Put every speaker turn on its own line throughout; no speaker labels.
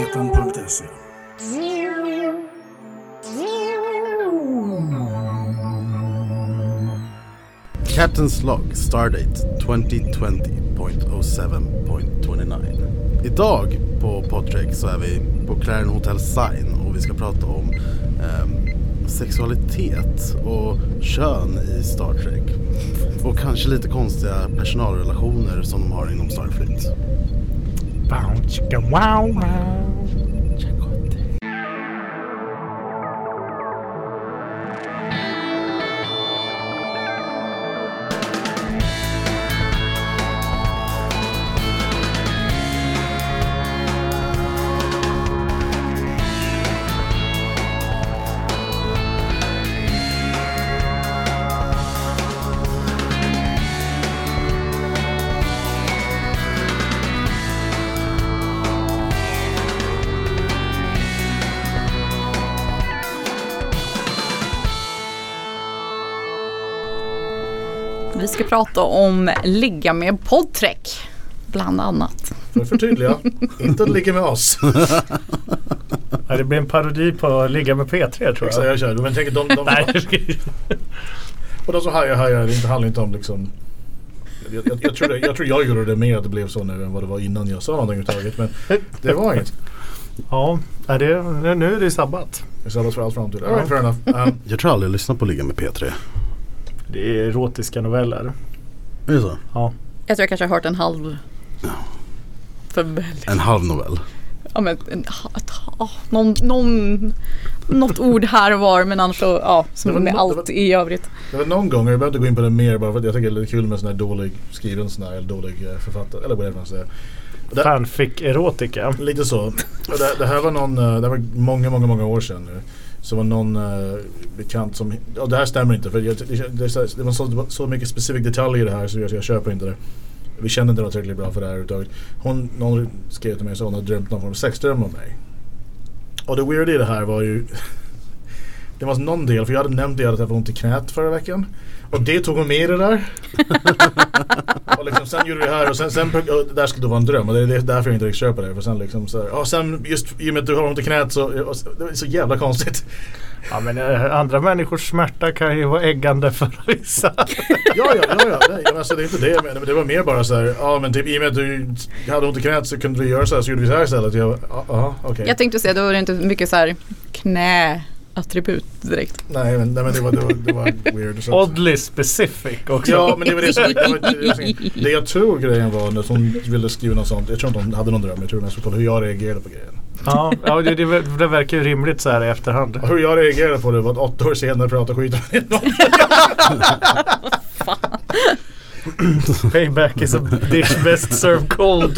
Planeten.se
Captain's Log Stardate 2020.07.29 Idag på Podtrek så är vi på Claren Hotel Sign och vi ska prata om ehm, sexualitet och kön i Star Trek. Och kanske lite konstiga personalrelationer som de har inom Starfleet.
Vi ska prata om ligga med poddträck. Bland annat.
För att förtydliga, inte ligga med oss.
Ja, det blir en parodi på Ligga med P3 tror jag.
jag körde, men tänk de, de,
Nej,
de, och de som hajar hajar, det inte- handlar inte om liksom jag, jag, jag, tror det, jag tror jag gjorde det mer att det blev så nu än vad det var innan jag sa någonting överhuvudtaget. Men det var inget.
ja nej, det, nu är det sabbat.
Jag sa det för allt framtid. All right, fair enough. Um,
Jag tror aldrig jag lyssnat på Ligga med P3.
Det är erotiska noveller.
Är det så?
Ja.
Jag tror jag kanske har hört en halv. För väldigt,
En halv novell.
ja men en, ha- ett, ha- någon, någon, något ord här och var men annars så, ja
Det var
som med
nå-
allt i övrigt.
det var någon gång, och jag behöver inte gå in på det mer bara för att jag tycker det är kul med sån här dålig skriven sån här, eller dålig eh, författare, eller whatever man säger. Det-
Fanfic erotika.
Lite så. Och Det, det här var någon, eh, det här var många, många, många år sedan nu. Så var någon eh, bekant som, ja det här stämmer inte för jag, det, det, det var så, det var så mycket specifik detalj i det här så jag, jag köper inte det. Vi kände inte något tillräckligt bra för det här överhuvudtaget. Hon, någon skrev till mig så hon hade drömt någon form av sexdröm om mig. Och det weird i det här var ju Det var någon del, för jag hade nämnt det att jag hade ont i knät förra veckan. Och det tog hon med i det där. och liksom, sen gjorde vi det här och sen, sen och det där skulle då vara en dröm. Och det är det är därför jag inte riktigt köper det. För sen liksom så här, och sen just i och med att du har ont i knät så, och, så- det är så jävla konstigt.
Ja, men, eh, andra människors smärta kan ju vara äggande för vissa.
Ja, ja, ja, ja. Nej, men alltså, det är inte det jag menar. Men det var mer bara så här, ja men typ i och med att du hade ont i knät så kunde vi göra så här, så gjorde vi så här istället. Jag, ja, aha, okej.
Jag tänkte säga då är det inte mycket så här knäattribut direkt.
Nej, men, nej, men det, var, det, var, det var weird. Så att-
Oddly specific också.
Ja men det var det som, det, var, det, var som- det jag tror grejen var när hon ville skriva något sånt. Jag tror inte hon hade någon dröm. Jag tror mest kolla hur jag reagerade på grejen.
Ja, ja det, det, ver- det verkar ju rimligt så här i efterhand.
Och hur jag reagerade på det var att åtta år senare prata skit om det.
Payback is a dish best served cold.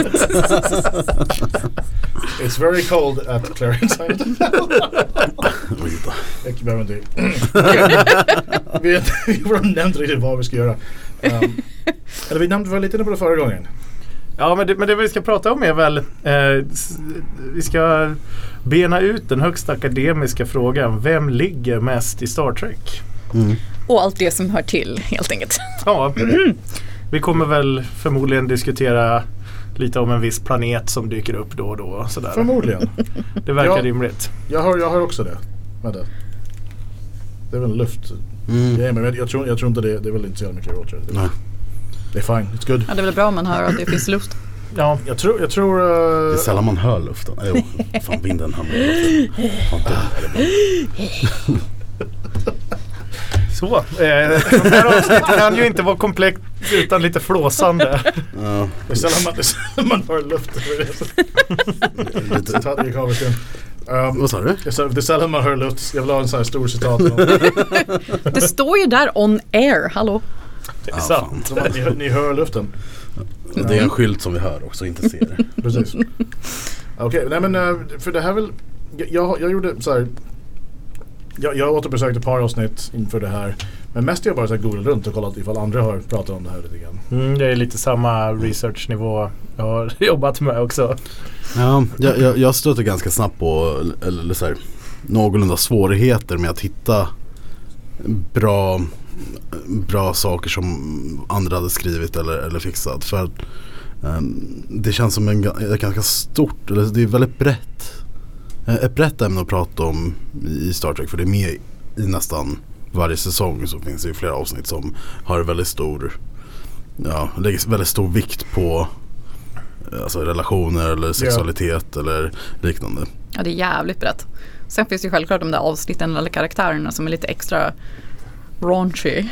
It's very cold at Clarence Island.
Oj då.
Jag behöver inte... vi vi har nämnt riktigt vad vi ska göra. Um, eller vi nämnde väl lite inne på det förra gången.
Ja, men det, men det vi ska prata om är väl... Eh, s- vi ska bena ut den högst akademiska frågan. Vem ligger mest i Star Trek?
Mm.
Och allt det som hör till helt enkelt.
Ja, Mm. vi kommer väl förmodligen diskutera lite om en viss planet som dyker upp då och då. och Sådär.
Förmodligen.
Det verkar
Ja.
rimligt.
Jag har, jag har också det. Vänta. Det är väl en luft.
Mm.
Ja, men jag, jag, tror, jag tror inte det. Det är väl inte så jävla mycket jag åt.
Nej.
Det är fine. It's good.
Ja det är väl bra om man hör att det finns luft.
Ja,
Jag tror... Jag tror eh,
Det är sällan man hör luften. Jo, fan vinden hamnar i luften. Fan, det är bra.
så. Eh, de här avsnitten kan ju inte vara komplett utan lite flåsande.
Ja,
Det är sällan man, det är sällan man hör luft.
lite.
Citat i kavelsten. Um,
Vad sa du?
jag sa, det är sällan man hör luft. Jag vill ha en sån här stor citat.
Det står ju där on air, hallå.
Det är
Ja,
sant.
Som att ni, ni hör luften.
Det är en skylt som vi hör också, inte ser.
Precis. Okej, nej men eh, för det här väl. jag- Jag, jag gjorde så här. Jag, jag återbesökte ett par avsnitt inför det här. Men mest har jag bara så här googlat runt och kollat ifall andra har pratat om det här lite grann.
Mm, det är lite samma researchnivå jag har jobbat med också.
Ja, jag, jag, jag stöter ganska snabbt på eller, eller så här, någorlunda svårigheter med att hitta bra, bra saker som andra hade skrivit eller, eller fixat. För att Ehm, Det känns som en, ga- ett ganska stort, eller det är väldigt brett. eh, Ett brett ämne att prata om i i Star Trek för det är med i nästan varje säsong så finns det ju flera avsnitt som har väldigt stor, ja, lägger väldigt stor vikt på eh, alltså relationer eller sexualitet eller liknande.
Ja, det är jävligt brett. Sen finns det ju självklart de där avsnitten eller karaktärerna som är lite extra raunchy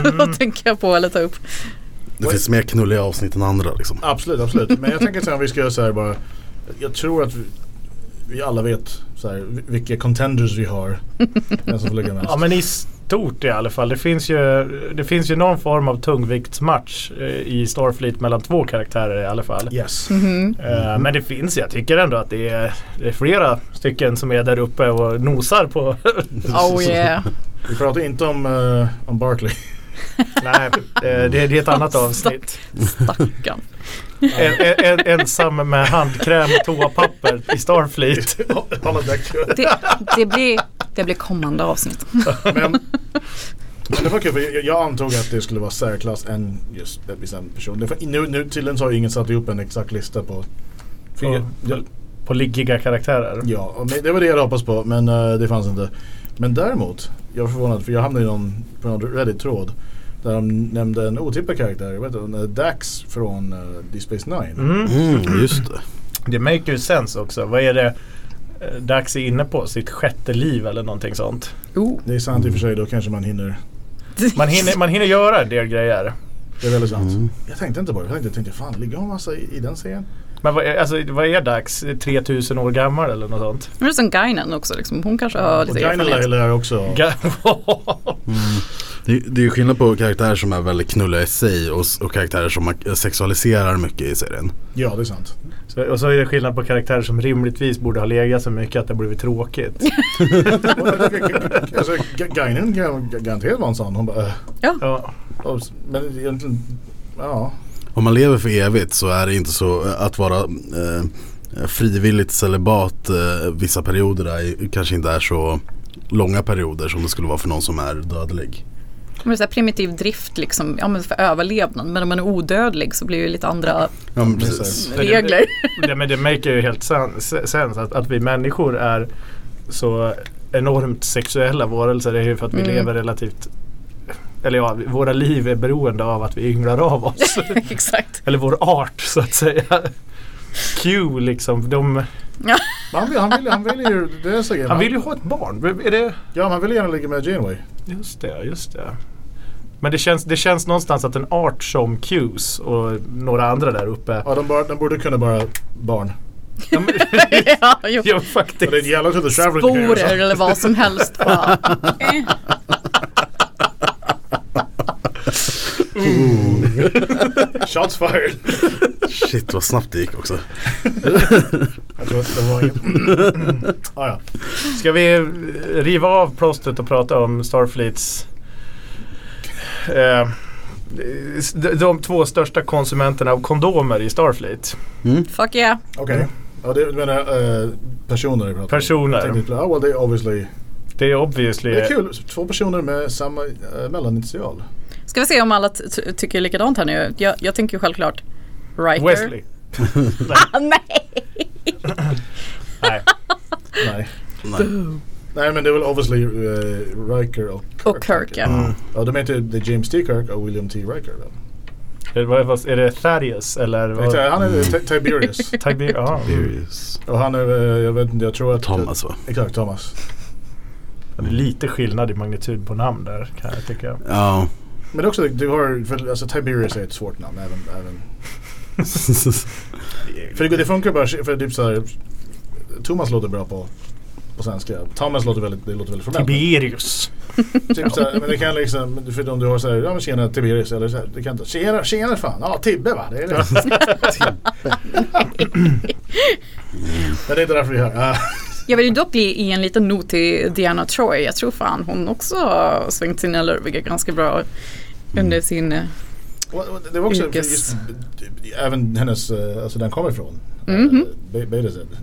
Mm.
att tänka på eller ta upp.
Det finns mer knulliga avsnitt än andra liksom.
Absolut, absolut. Men jag tänker så här, vi ska göra så här bara. Jag tror att vi, vi alla vet så här, vi- vilka contenders vi har. Den som får ligga mest.
Ja men i stort i alla fall. Det finns ju, det finns ju någon form av tungviktsmatch eh, i Starfleet mellan två karaktärer i alla fall.
Yes.
Mm-hmm.
Eh, Men det finns, jag tycker ändå att det är, det är flera stycken som är där uppe och nosar på...
Oh yeah.
Vi pratar inte om, eh, om Barkley.
Nej, eh, det, det är ett annat avsnitt.
Stackarn.
En, en, en, ensam med handkräm och toapapper i Starfleet.
Alla däck.
Det, det, blir, det blir kommande avsnitt.
Men, men det var kul för jag, jag antog att det skulle vara särklass en just en bestämd person. Det var, nu, nu tydligen så har ingen satt ihop en exakt lista på. För
På-
jag, jag,
På liggiga karaktärer.
ja, och men det var det jag hade hoppats på men eh, det fanns inte. Men däremot, jag var förvånad för jag hamnade i någon, på någon Reddit-tråd. Där de nämnde en otippad karaktär, jag vet inte, Eh, Dax från uh, Deep Space Nine.
Mm.
Mm, just det.
Det make ju sense också. Vad är det eh, Dax är inne på? Sitt sjätte liv eller någonting sånt.
Oh.
Det är sant i och för sig, då kanske man hinner.
Man hinner, man hinner göra en del grejer.
Det är väldigt sant.
Mm.
Jag tänkte inte på det, jag tänkte, jag tänkte fan ligger hon massa i, i den serien?
Men vad är, alltså, vad är Dax? 3000 år gammal eller något sånt?
Men det är som Guinan också liksom. Hon kanske har
Och
lite
Dino
erfarenhet.
Lyle är också.
Ga-
Det, det är ju skillnad på karaktärer som är väldigt knulliga i sig och, s- och karaktärer som man sexualiserar mycket i serien.
Ja, det är sant.
Så, och så är det skillnad på karaktärer som rimligtvis borde ha legat så mycket att det har blivit tråkigt.
alltså, Ga- Guinan kan garanterat vara en sån. Hon bara, eh.
Ja.
Och s- men egentligen, ja.
Om man lever för evigt så är det inte så eh, att vara eh, frivilligt celibat eh, vissa perioder är, kanske inte är så långa perioder som det skulle vara för någon som är dödlig.
Men det är så här primitiv drift liksom, ja, men för överlevnad. Men om man är odödlig så blir det lite andra
Ja, men
det är
precis.
så.
regler.
Det, men det maker ju helt sen- se- sense att, att vi människor är så enormt sexuella varelser. Det är ju för att vi
Mm.
lever relativt eller ja, våra liv är beroende av att vi ynglar av oss.
Exakt.
Eller vår art så att säga. Q liksom, de,
Men han vill, han vill, han vill ju, det är så grejen.
han vill ju ha ett barn. Är det,
Ja, han vill gärna ligga med Janeway.
Just det, just det. Men det känns, det känns någonstans att en art som Qs och några andra där uppe.
Ja, de, bara, de borde kunna bara barn.
Ja, men,
ja, jo.
ja,
Och det är
faktiskt.
en jävla tur att Traveler inte kan göra
Sporer
så.
eller vad som helst. Bara. Eh.
Shots fired.
Shit vad snabbt det gick också.
Jag tror att Alltså, det var inget. Ah, ja.
Ska vi eh, riva av plåstret och prata om Starfleets eh, de, de två största konsumenterna av kondomer i Starfleet.
Mm.
Fuck yeah.
Okej. Ja, det, du menar eh, personer vi pratar om.
Personer.
Jag tänkte, Ja, well, det är obviously.
Det är obviously...
Det är kul. Två personer med samma eh, mellaninitial.
Ska vi se om alla t- t- tycker likadant här nu. Jag, jag tänker ju självklart writer.
Wesley.
Ah, nej.
Nej.
Nej.
Nej.
Nej men det är väl obviously eh, Riker och Kirk.
Och Kirk ja.
Mm.
Ja de heter det är James T. Kirk och William T. Riker. Då.
Är, vad- vad- är det Thaddeus eller?
Jag tänkte,
Vad?
Han är Ti- Tiberius.
Tagbi- ja.
Sirius.
och han är, eh, jag vet inte, jag tror att...
Thomas va?
Exakt, Thomas.
Det är Lite skillnad i magnitud på namn där kan jag tycka.
Ja.
Men också du har, för, alltså Tiberius är ett svårt namn även. även. För det, går- det funkar bara, för typ såhär, Thomas låter bra på, på svenska. Thomas låter väldigt, det låter väldigt formellt.
Tiberius.
Typ såhär, men det kan liksom, för om du har såhär, ja men tjena Tiberius eller såhär, det kan inte, tjena, tjena fan, ja Tibbe va? Det är det. men det är inte därför vi är här. Ah.
Jag vill ju dock ge ge en liten not till Diana Troy. Jag tror fan hon också har svängt sina lurviga ganska bra
Mm.
under sin... eh,
Och- och Det var också för
Yrkes-
just, även hennes, eh, alltså den kommer ifrån.
Mhm.
mm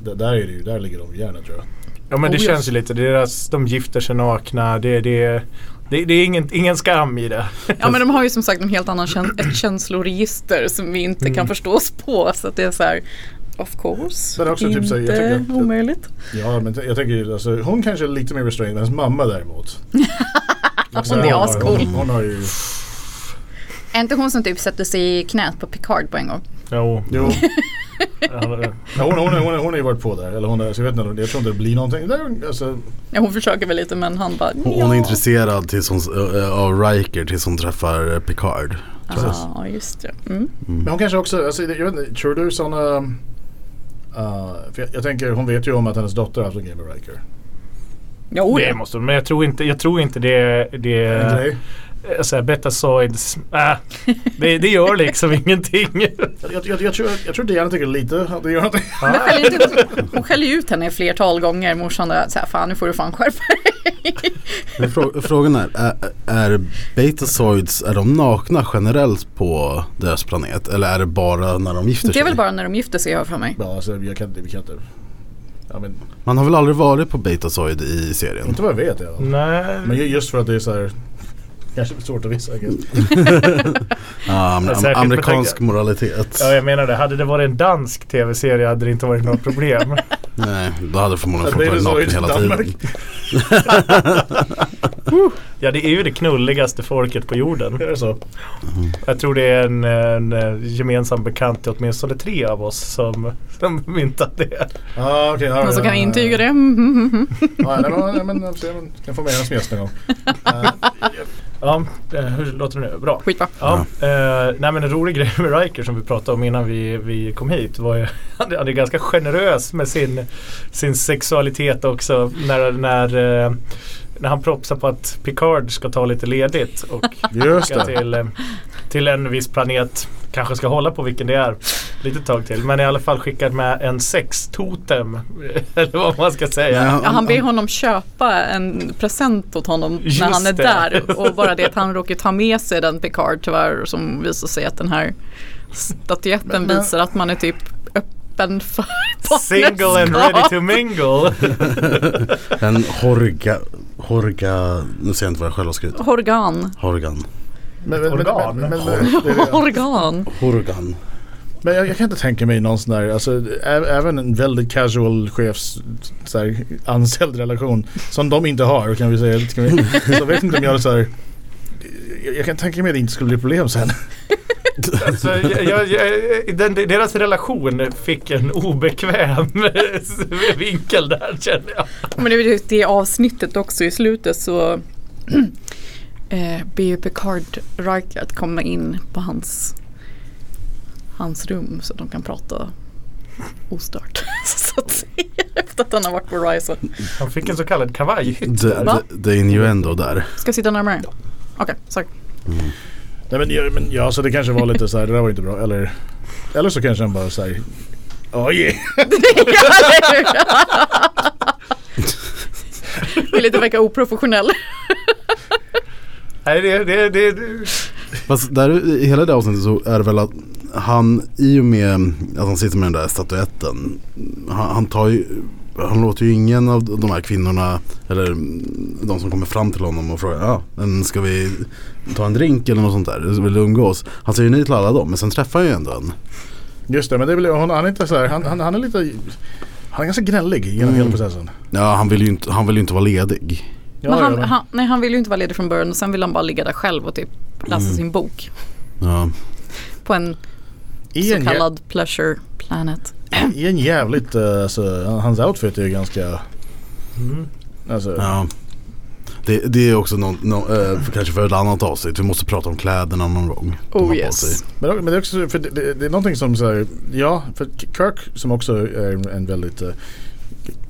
Där, är det ju, där ligger de gärna tror jag.
Ja men det
Oh, ja.
känns ju lite. Deras, de gifter sig nakna. Det, det, det, det är ingen, ingen skam i det.
Ja men de har ju som sagt en helt annan käns- ett känsloregister som vi inte kan förstå oss på. Så att det är så här, of course,
Mm. Men också
inte
typ så här, jag tycker att-
omöjligt.
Ja, men t- jag tänker ju, alltså, hon kanske är lite mer restrained, men hennes mamma däremot. Alltså,
Hon är ascool.
Hon, hon har ju...
Är inte hon som typ sätter sig i knät på Picard på en gång?
Jo.
Jo,
Ja, det-
ja, hon, hon, hon, hon har ju varit på där. Eller hon är, så jag, vet inte, jag tror inte det blir någonting. Där, alltså,
Ja hon försöker väl lite men han bara
Oh,
Hon, hon är intresserad tills hon, eh, eh, av Riker tills hon träffar eh, Picard.
Ja ah, just det. Mm.
Men hon kanske också, alltså, jag vet inte, tror du sådana... för jag, jag tänker, hon vet ju om att hennes dotter har haft en game med Riker.
Jo,
Det måste de, men jag tror inte, jag tror inte det... det
En grej.
alltså, betazoids, äh, det, det gör liksom ingenting.
Jag, jag, jag, jag, tror, jag tror Diana tycker lite att det gör någonting.
Hon skäller ju ut, hon skäller ju ut henne flertal gånger. Morsan där såhär, fan nu får du fan skärpa dig.
Men frå- Frågan är, är, är betazoids, är de nakna generellt på deras planet? Eller är det bara när de gifter sig?
Det är väl bara när de gifter sig har jag för mig.
Ja, alltså, jag kan, inte- vi kan inte... Ja, men,
Man har väl aldrig varit på betazoid i serien?
inte vad jag vet i alla fall.
Nej.
Men ju- just för att det är så här... Kanske svårt att visa. I guess.
Ja, men
Ja,
am-
säkert,
amerikansk
tänker
moralitet.
Ja, jag menar det. Hade det varit en dansk tv-serie hade det inte varit något problem.
Nej, då hade förmodligen
Det
folk
är
varit
så
nakna
i
hela
Danmark.
tiden.
ja, det är ju det knulligaste folket på jorden.
Är det så?
Jag tror det är en, en eh, gemensam bekant till åtminstone tre av oss som, som myntat det.
Ah, okay,
Någon som kan intyga det. Mm, mm, mm, mm.
Ja, nej, men, nej, men, jag får se, men, kan få med henne som gäst någon gång. Eh,
Ja, eh, hur låter det nu? Bra.
Skitbra.
Ja, eh, nej men en rolig grej med Riker som vi pratade om innan vi, vi kom hit var ju han är- han är ganska generös med sin, sin sexualitet också när, när, eh, när han propsar på att Picard ska ta lite ledigt och
just
åka
det.
till, eh, till en viss planet. Kanske ska hålla på vilken det är lite tag till. Men i alla fall skickat med en sextotem. Eller vad man ska säga.
Nej,
Ja, han ber honom köpa en present åt honom
Just
när han är
det.
där. Och bara det att han råkar ta med sig den Picard tyvärr som visar sig att den här statyetten
men-
visar att man är typ öppen för
Single and
partnerskap.
ready to mingle.
En horga, horga, nu ser jag inte vad jag själv har skrivit.
Organ.
Horgan.
Men, men, men,
Organ.
men, men, men, det är-
Organ.
Horgan.
Men jag, jag kan inte tänka mig någon sån där, alltså, ä- även en väldigt casual chefs så här, anställd relation som de inte har kan vi säga. Kan vi, så jag vet inte om jag så här, jag, jag kan tänka mig att det inte skulle bli problem sen.
Så jag, jag, jag, den, deras relation fick en obekväm vinkel där känner jag.
Men det är ju det avsnittet också i slutet så eh, ber ju Picard Riker att komma in på hans, hans rum så att de kan prata ostört. så att säga efter att han har varit på Rise.
Han fick en så kallad kavajhytt.
Det, det,
Va?
det är innuendo där.
Ska jag sitta närmare? Okej, sorry.
Nej, men, ja, men ja, så det kanske var lite så här, det där var inte bra. Eller, eller så kanske han bara så här, oh yeah.
Vill inte verka oprofessionell.
Nej, det, det, det,
Fast där, i hela det avsnittet så är det väl att han i och med att han sitter med den där statuetten. Han, han tar ju, han låter ju ingen av de här kvinnorna eller de som kommer fram till honom och frågar ja, men ska vi ta en drink eller något sånt där? Vill du umgås? Han säger nej till alla dem men sen träffar han ju ändå en.
Just det, men det är väl, hon, han är inte så här, han, han, han är lite, han är ganska gnällig genom hela
Mm.
processen.
Ja han vill ju inte, han vill ju inte vara ledig.
Ja,
men han,
ja, men-
han, nej, han vill ju inte vara ledig från början och sen vill han bara ligga där själv och typ läsa
Mm.
sin bok
Ja.
på en
i,
så
en, jä-
kallad pleasure planet.
I en jävligt, eh, alltså, hans outfit är ju ganska,
Mm.
alltså,
Ja. Det, det är också någon, nå- eh, för, kanske för ett annat avsnitt. Vi måste prata om kläderna någon gång. De har
Oh
på
yes.
sig.
Men, men det, är också, för det, det, det är någonting som så här, ja, för K- Kirk som också är en- en väldigt eh,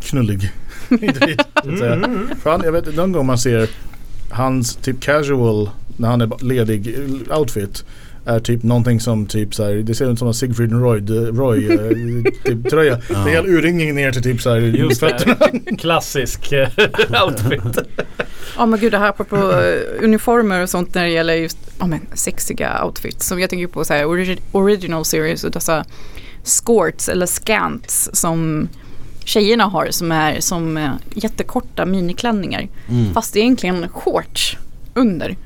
knullig individ. så
Mm,
att säga. För han, jag vet någon gång man ser hans typ casual, när han är ba- ledig, eh, outfit är typ någonting som typ så här, det ser ut som en Siegfried Roy, Roy eh, typ, tröja. Det är hela urringning ner till typ så här
just
fötterna.
det. Klassisk eh, outfit.
Ja men gud det här apropå eh, uniformer och sånt när det gäller just ja men, sexiga outfits. Som jag tänker på så här, origi- original series och dessa skorts eller scants som tjejerna har som är som eh, jättekorta miniklänningar.
Mm.
Fast det är egentligen shorts under.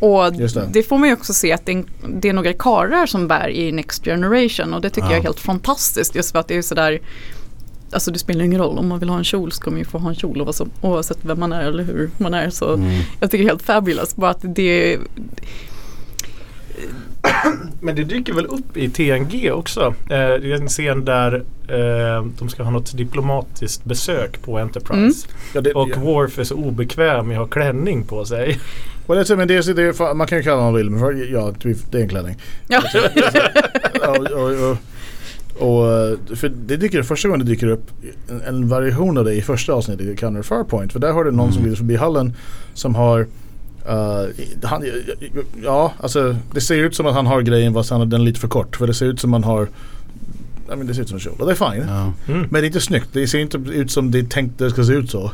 Och
Just det.
det. får man ju också se att det är, en, det är några karlar som bär i Next Generation och det tycker
Ja.
jag är helt fantastiskt just för att det är sådär Alltså det spelar ingen roll, om man vill ha en kjol så kommer man ju få ha en kjol oavs- oavsett vem man är eller hur man är. Så
Mm.
jag tycker det är helt fabulous. Bara att det,
Men det dyker väl upp i TNG också. Eh, det är en scen där eh, de ska ha något diplomatiskt besök på Enterprise.
Ja, det,
Och
ja.
Worf är så obekväm med att ha klänning på sig.
Well, that's, I mean, det, är- det, är fa- man kan ju kalla det vad man vill men för, ja, det är en klänning.
ja.
Ja, och, och, och, och, eh, för det dyker första gången det dyker upp en, en variation av det i första avsnittet i Counter Farpoint. För där har du någon som
Mm.
glider förbi hallen som har eh, i- han, ja, alltså det ser ut som att han har grejen fast han har den lite för kort. För det ser ut som man har, ja men det ser ut som en kjol och det är fine.
Ja.
Mm.
Men det är inte snyggt, det ser inte ut som det är tänkt det ska se ut så.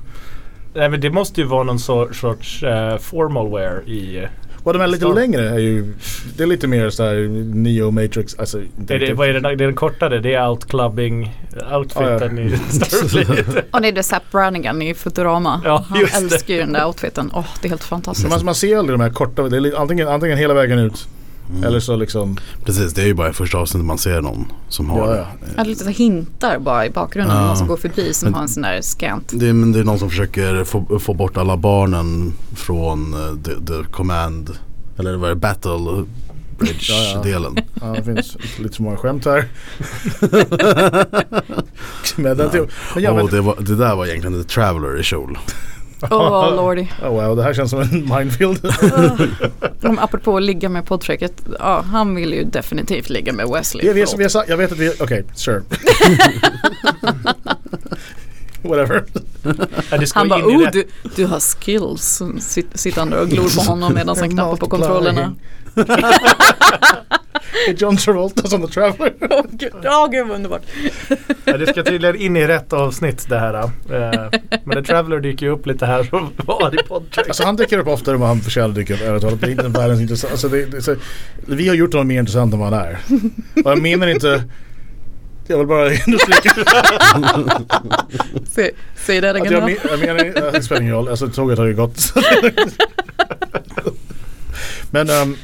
Nej men det måste ju vara någon sor- sorts eh, formal wear i...
Och de här lite
Star-
längre är ju, det är lite mer såhär Neo Matrix, alltså inte
Är det,
riktigt-
vad är den, det är den kortare? Det är outclubbing outfiten
Ja,
i Starfleet.
Och det är det Zapp Brannigan i Futurama.
Ja,
Han
just det.
älskar ju den där outfiten. Åh, det är helt fantastiskt.
Men man, man ser aldrig de här korta, det är li- antingen, antingen hela vägen ut
Mm.
eller så liksom
Precis, det är ju bara i första avsnittet man ser någon som har
Ja,
det.
ja.
Ja, lite så hintar bara i bakgrunden.
Ja.
Någon som går förbi som
Men-
har en sån där scant.
Det är, men det är någon som försöker få, få bort alla barnen från eh, the, the command, eller vad är det, battle
Ja, ja.
bridge-delen.
Ja, det finns lite för många skämt här. men det, typ- men jag
Och
vet,
det, var, det där var egentligen The Traveller i kjol.
Åh lordy.
oh, wow, det här känns som en minefield.
Om, apropå att ligga med poddträcket. Ja, han vill ju definitivt ligga med Wesley.
jag, vet,
Förlåt.
jag, vet, jag vet att vi, okej, sure. Whatever.
Ja, det ska
han
in
bara,
i
oh
rätt-
du, du har skills. Sitt- Sittande och glor på honom medan han knappar på kontrollerna.
Är John Travolta som The Traveller?
Åh gud, oh, gud vad underbart.
Ja, det ska tydligen in i rätt avsnitt det här. eh. men The Traveller dyker ju upp lite här och var i podden.
Alltså han dyker upp oftare än vad han förtjänar dyker upp ärligt talat. Det är inte världens intressant. Alltså, det, det, så, vi har gjort honom mer intressant än vad han är. Och jag menar inte jag vill bara understryka
Säg, säg det
att
igen.
jag,
då.
men, jag menar, det spelar ingen roll. Alltså tåget har ju gått. men ehm,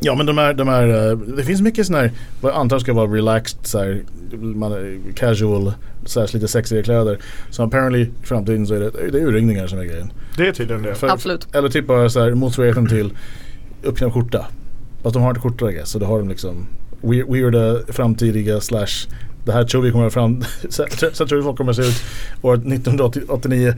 ja men de här, de här, eh, det finns mycket sådana här, vad jag antar ska vara relaxed, så här, man är casual, så här, lite sexigare kläder. Så apparently i framtiden så är det, det är urringningar som är grejen.
Det är tydligen det.
För-
Absolut.
Eller typ bara så här motsvarigheten till uppknäppt skjorta. Fast de har inte skjorta I guess, så då har de liksom we- weirda framtidiga slash det här tror vi kommer fram, så här så här tror vi folk kommer se ut år 1989. Eh,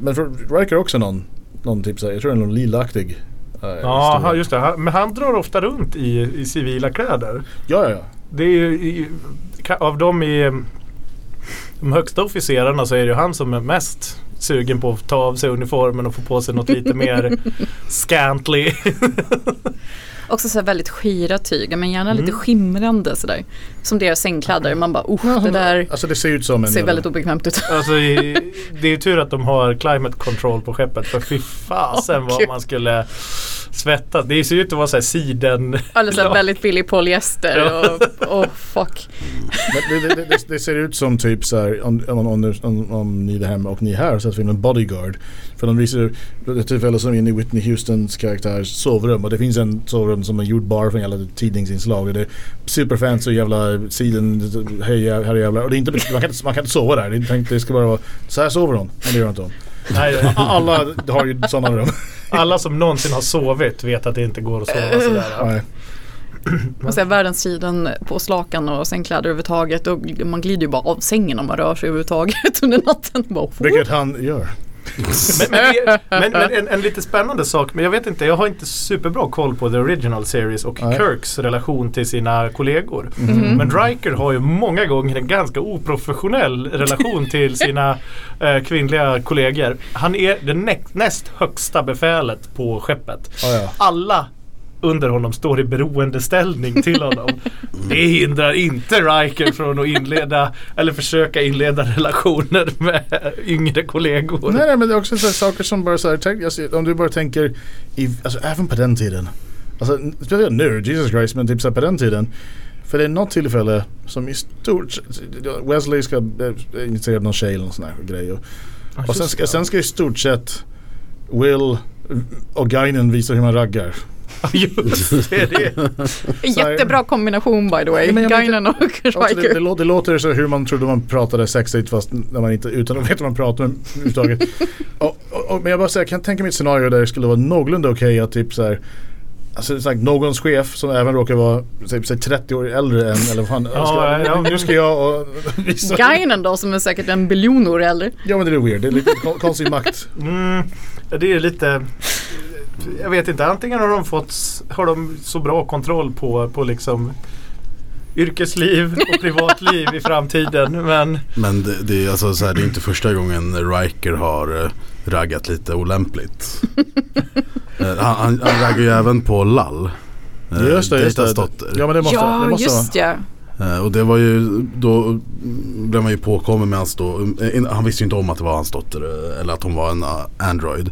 men för Riker också någon, någon typ så här, jag tror det är någon lilaaktig. eh,
Ja,
historia.
han- just det. Han, men han drar ofta runt i, i civila kläder.
Ja, ja, ja.
Det är ju, i, ka- av de i eh, de högsta officerarna så är det ju han som är mest sugen på att ta av sig uniformen och få på sig något lite mer scantly.
Också så här väldigt skira tyger men gärna lite
Mm.
skimrande sådär. Som deras sängkläder. Man bara,
Ja,
oh det
som-
där
Alltså det ser ut som en...
ser väldigt obekvämt ut.
Alltså, i- det är ju tur att de har climate control på skeppet för fy fasen
Åh,
vad
Gud.
man skulle svettas. Det ser ju ut att vara så här siden...
Eller så här
Ja.
väldigt billig polyester och oh, fuck.
Men det, det, det, det, det ser ut som typ så här, om, om, om, om, om ni där hemma och ni här har sett filmen Bodyguard. För de visar ju ett tillfälle som är inne i Whitney Houstons karaktärs sovrum och det finns en sovrum som är gjord bara för alla tidningsinslag. Och det är superfancy och jävla siden, hej här jävlar. Och det är inte, man, kan inte, man kan inte sova där. Det är tänkt det ska bara vara, så här sover hon. Men det gör inte hon.
Nej,
Alla har ju sådana rum.
alla som någonsin har sovit vet att det inte går att sova sådär.
Nej.
Och så här, världens siden på slakan och sängkläder överhuvudtaget. Och man glider ju bara av sängen om man rör sig överhuvudtaget under natten. Bara, oh.
Vilket han gör.
Men, men, det- men, men en, en lite spännande sak, men jag vet inte, jag har inte superbra koll på the original series och
Nej. Mhm.
Kirks relation till sina kollegor. Men Riker har ju många gånger en ganska oprofessionell relation till sina eh, kvinnliga kollegor. Han är det nä- näst högsta befälet på skeppet.
Ja, Ah, ja.
Alla under honom står i beroendeställning till honom. Det hindrar inte Riker från att inleda eller försöka inleda relationer med yngre kollegor.
Nej, nej men det är också så här saker som bara så här, tänk, alltså, om du bara tänker, i, alltså även på den tiden. Alltså n- speciellt nu, Jesus Christ, men typ så här, på den tiden. För det är något tillfälle som i stort Wesley ska eh, initiera någon tjej eller någon sån här grej. Och,
Ja,
och sen,
just
ska,
det.
sen ska i stort sett Will och Guinan visa hur man raggar.
Ja, just det, det.
Jättebra kombination by the way.
Ja, men jag
Guinan och
Alltså det, det,
Riker.
lå- det låter så hur man trodde man pratade sexigt fast när man inte, utan att veta vad man pratar om överhuvudtaget. och, och, och, men jag bara säger, jag kan tänka mig ett scenario där det skulle vara någorlunda okej att typ så här Alltså sagt, någons chef som även råkar vara typ, säg, säg 30 år äldre än eller vad fan,
Ja,
ska,
ja,
nu ska jag och visa.
Guinan då som är säkert en biljon år äldre.
Ja men det är weird, det är lite kon- konstig makt.
Mm, det är lite... Jag vet inte, antingen har de fått s- har de så bra kontroll på, på liksom yrkesliv och privatliv i framtiden. Men
Men det, det, är alltså så här, det är inte första gången Riker har eh, raggat lite olämpligt. Eh, han, han, han raggar ju även på Lall. eh,
Just det, just
Deitas
det.
dotter.
Ja men det måste, det
Ja
måste vara.
just ja.
Eh, Och det var ju, då mm, blev man ju påkommen med hans då, eh, in- han visste ju inte om att det var hans dotter eh, eller att hon var en eh, Android.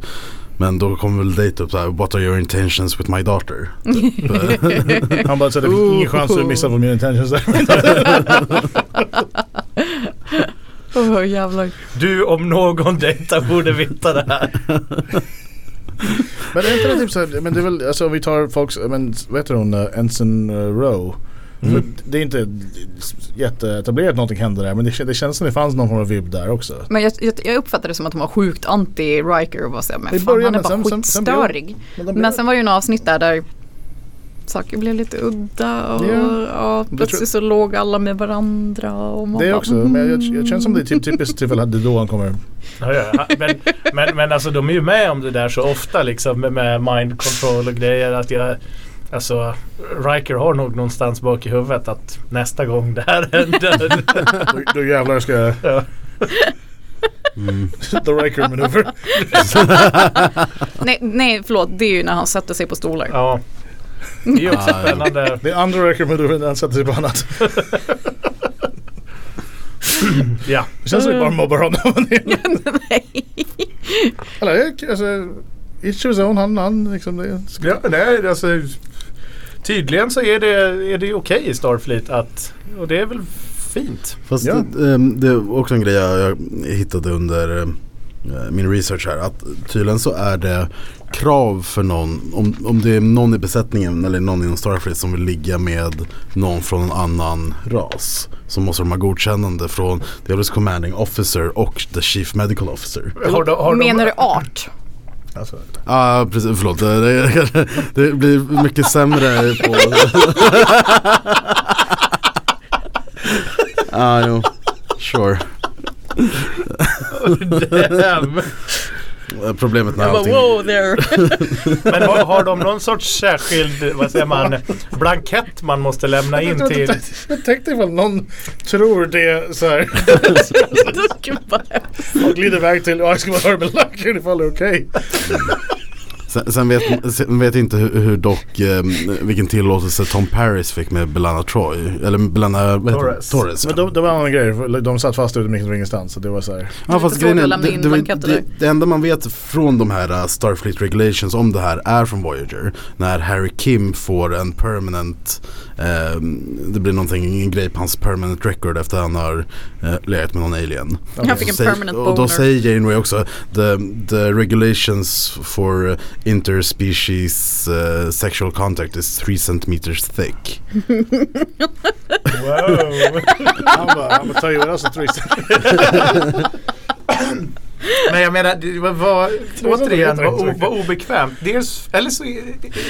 Men då kom väl dejt upp såhär, what are your intentions with my daughter? Typ. Eh,
Han bara så här, det finns ingen chans att missa på min intentions där.
Åh jävlar.
du om någon dejtar borde veta det här.
Men är inte det typ såhär, men det är väl, alltså om vi tar folks, men vad heter hon, eh, Ensign eh, Rowe.
Mm.
För Det är inte jätteetablerat någonting hände där men det, kän- det känns som det fanns någon form av vibb där också.
Men jag, jag, jag uppfattade det som att de var sjukt anti Riker och var såhär,
I
men fan
början,
han är
men sen-
bara
sen- sen blev-
skitstörig.
de blev-
Men sen var det ju några avsnitt där, där saker blev lite udda och,
Ja.
och plötsligt så låg alla med varandra. Och man
det är
bara, "Mm."
också, men jag, jag känns som det är typ, typiskt tillfälle att det är då han kommer.
Ja, ja. Men, men, men alltså de är ju med om det där så ofta liksom med, med mind control och grejer. Att jag, alltså Riker har nog någonstans bak i huvudet att nästa gång det här händer.
Då, då jävlar ska jag,
Ja.
mm.
the Riker maneuver.
Nej, nej förlåt, det är ju när han sätter sig på stolar.
ja. Det är ju också
Ja, ja.
spännande.
Det är andra Riker maneuver när han sätter sig på annat.
Ja.
Det känns som vi bara mobbar honom.
nej.
Eller jag- alltså, each his own, han, han liksom det.
Ja, nej, alltså, tydligen så är det, är det ju okej i Starfleet att, och det är väl fint.
Fast
Ja.
det, ehm, det är också en grej jag, jag hittade under eh, min research här. Att tydligen så är det krav för någon, om, om det är någon i besättningen eller någon inom Starfleet som vill ligga med någon från en annan ras. Så måste de ha godkännande från deras commanding officer och the chief medical officer.
Har de, har
Menar
de,
du art?
Alltså,
Ja ah, precis, förlåt. Det, det, det blir mycket sämre på... ah, jo, sure.
Damn.
eh, Problemet när
Jag bara,
allting...
wow there.
Men har, har de någon sorts särskild, vad säger man, blankett man måste lämna in
jag,
till?
jag, jag tänkte ifall någon tror det så här.
Gud, vad hemskt.
och glider iväg till, ja jag ska vara Herbalacker ifall det är okej.
Sen, sen, vet, sen vet jag inte hur, hur dock, eh, vilken tillåtelse Tom Paris fick med Belana Troy. Eller med Belana vad heter
Torres.
det? Torres
Men
ja.
de, det var en annan grej, för de satt fast ute mitt från ingenstans. Så det var så här.
ja, fast
Det är lite svårt
grejen är,
att lämna
det,
in
det, var-
blanketter
det,
där.
det enda man vet från de här eh, Starfleet Regulations om det här är från Voyager. När Harry Kim får en permanent, eh, det blir någonting, en grej på hans permanent record efter han har eh, legat med någon alien.
Han fick en
Säg-
permanent
Och då
boner.
säger Janeway också the, the regulations for äh, interspecies eh, sexual contact is three centimeters thick.
Wow.
Han bara, han bara, tell you what else is three-
Men jag menar, det var, var,
tror att de
återigen,
vet
var,
inte
o-
riktigt.
var obekvämt. Dels, eller så, är-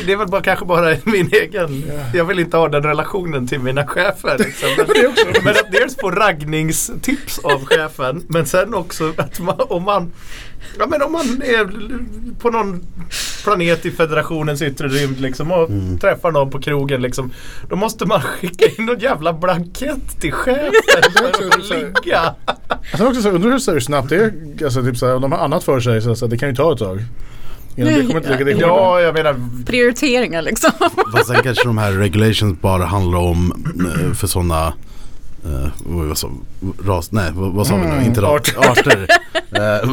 det är väl bara, kanske bara min egen, jag vill inte ha den relationen till mina chefer. Liksom. Men, men att dels få raggningstips av chefen, men sen också att man, om man Ja men om man är på någon planet i federationens yttre rymd liksom och träffar någon på krogen liksom Då måste man skicka in någon jävla blankett till chefen för att få ligga.
Sen också så här, undrar hur, så här, hur snabbt det är, alltså typ så här, om de har annat för sig så, så här, det kan ju ta ett tag. Innan det kommer inte ligga, det kommer
Ja, jag menar
Prioriteringar liksom.
Fast sen kanske de här regulations bara handlar om eh, för sådana Uh, vad sa ras, nej vad, vad sa vi nu? Inte ras, arter. Eh,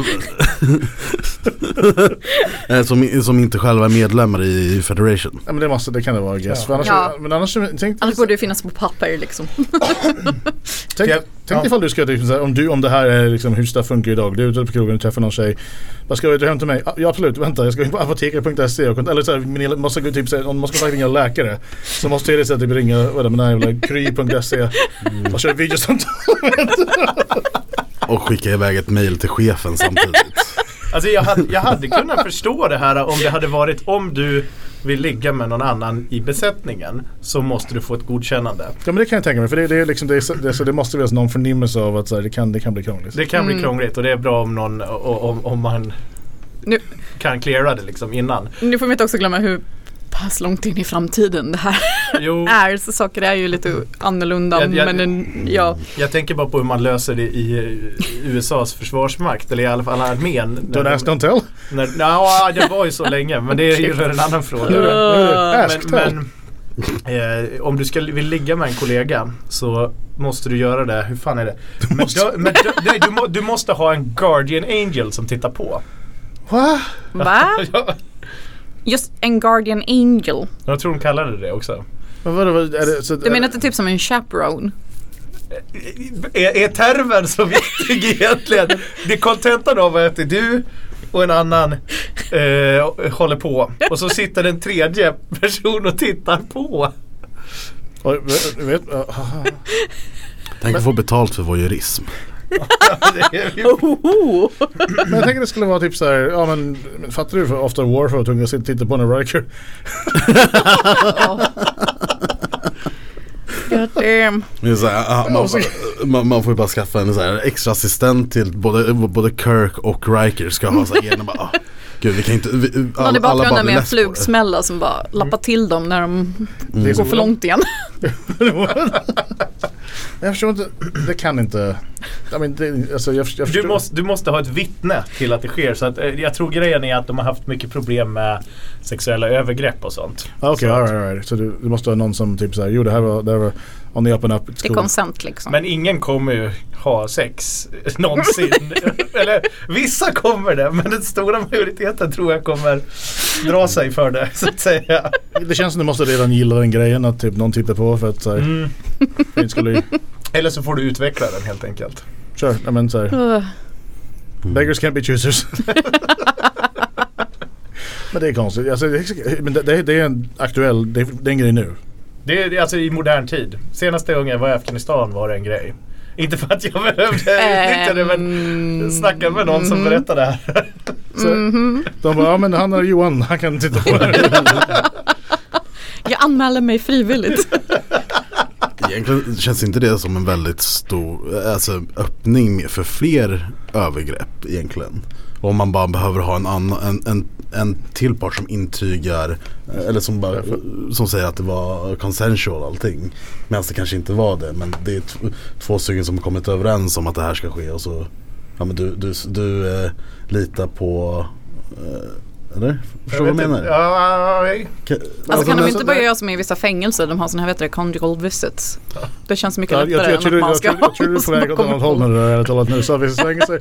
Eh, som, som inte själva är medlemmar i Federation.
Ja, men det, måste, det kan det vara I guess. För annars,
Ja.
Men annars, tänk,
Annars borde det finnas på papper liksom.
Tänk,
Ja.
tänk ifall du ska, liksom, så här, om du, om det här är liksom hur stuff funkar idag. Du är ute på krogen och träffar någon tjej. Vad ska du ta hem till mig? Ah, Ja absolut, vänta jag ska in på apoteket.se och, eller så här, min, jag måste, gå typ, så här, om man ska ringa läkare. Så måste jag istället typ ringa, vad är det, men nej, jävla kry.se.
Mm.
Och köra videosamtal.
Och skicka iväg ett mail till chefen samtidigt.
Alltså jag hade, jag hade kunnat förstå det här om det hade varit om du vill ligga med någon annan i besättningen så måste du få ett godkännande.
Ja men det kan jag tänka mig. För det, det, är liksom, det, är, så- det, är så det måste finnas någon förnimmelse av att så här, det, kan, det kan bli krångligt.
Det kan bli krångligt och det är bra om, någon, o- om, om man
Nu,
kan cleara det liksom innan.
nu får vi inte också glömma hur pass långt in i framtiden det här
Jo,
är. Så saker är ju lite annorlunda.
Jag- jag-
men en, ja.
jag tänker bara på hur man löser det i eh, USAs försvarsmakt eller i alla fall armén. När
Don't
de-
ask, don't tell.
När, nja, det var ju så länge men det är ju en annan fråga.
Nu är det- nu är det
Ah,
ask, tell.
men, men eh, om du ska, vill ligga med en kollega så måste du göra det, hur fan är det? Men
måste-
du, men du, nej, du, må, du måste ha en Guardian Angel som tittar på.
Va?
Va? Just en guardian angel.
Jag tror de kallade det det också.
Vad var det? Vad- Är det så,
Du menar inte typ som en chaperone?
Är, är termen så viktig egentligen? Det är kontentan av att det är du och en annan eh, håller på. Och så sitter en tredje person och tittar på.
Oj, vet, vet, aha.
Tänk att få betalt för vår jurism.
Det är ju-
Oho.
Men jag tänker det skulle vara typ så här, ja men men fattar du för After War för att tunga sitter och tittar på en Riker?
God damn.
Det är så här, ah, man, får- man, man får ju bara skaffa en så här extra assistent till både, både Kirk och Riker ska ha så här ena bara, ah, gud vi kan inte, vi,
Någon i
alla- alla bara blir
bakgrunden med en
less på det.
flugsmälla som bara lappar till dem när de
Det är
Mm. går
så-
för långt igen.
jag förstår inte, det kan inte. I mean, det, alltså, jag, jag förstår.
Du måste, du måste ha ett vittne till att det sker. Så att, eh, jag tror grejen är att de har haft mycket problem med sexuella övergrepp och sånt.
Ah, Okej, all right, all right. Så du, du måste ha någon som typ så här, jo det här var, det här var on the up and up. it's
Det är
cool.
konsent liksom.
Men ingen kommer ju ha sex eh, någonsin. Eller vissa kommer det, men den stora majoriteten tror jag kommer dra sig för det så att säga.
Det känns som du måste redan gilla den grejen att typ någon tittar på för att så här,
Mm.
för inte skulle,
Eller så får du utveckla den helt enkelt.
kör, I mean, så här,
Ugh. Mm.
beggars can't be choosers. men det är konstigt, alltså, det, men det, det, det är en aktuell, det, det är en grej nu.
Det är det är alltså i modern tid. Senaste gången jag var i Afghanistan var det en grej. Inte för att jag behövde utnyttja det men
Ehm,
snacka med någon som berättade det här.
Så, De bara, ja men han är Johan, han kan titta på det.
Jag anmäler mig frivilligt.
Egentligen känns inte det som en väldigt stor alltså, öppning för fler övergrepp egentligen. Om man bara behöver ha en, annan, en, en, en till part som intygar eh, eller som, bara, som säger att det var consensual allting. Medan det kanske inte var det men det är t- två stycken som har kommit överens om att det här ska ske och så ja, men du, du, du eh, litar på eh, eller? Förstår du vad jag menar?
Ja, nej.
Ka-
Alltså kan
men
de inte
så-
börja göra som i vissa fängelser, de har sådana här vet du, conjugal visits. Det känns mycket
Ja, jag,
lättare
jag, jag, tror
än
du-
att man
jag,
ska
tror- jag tror du är på väg åt annat håll när du har talat nu. Så vi svänger sig.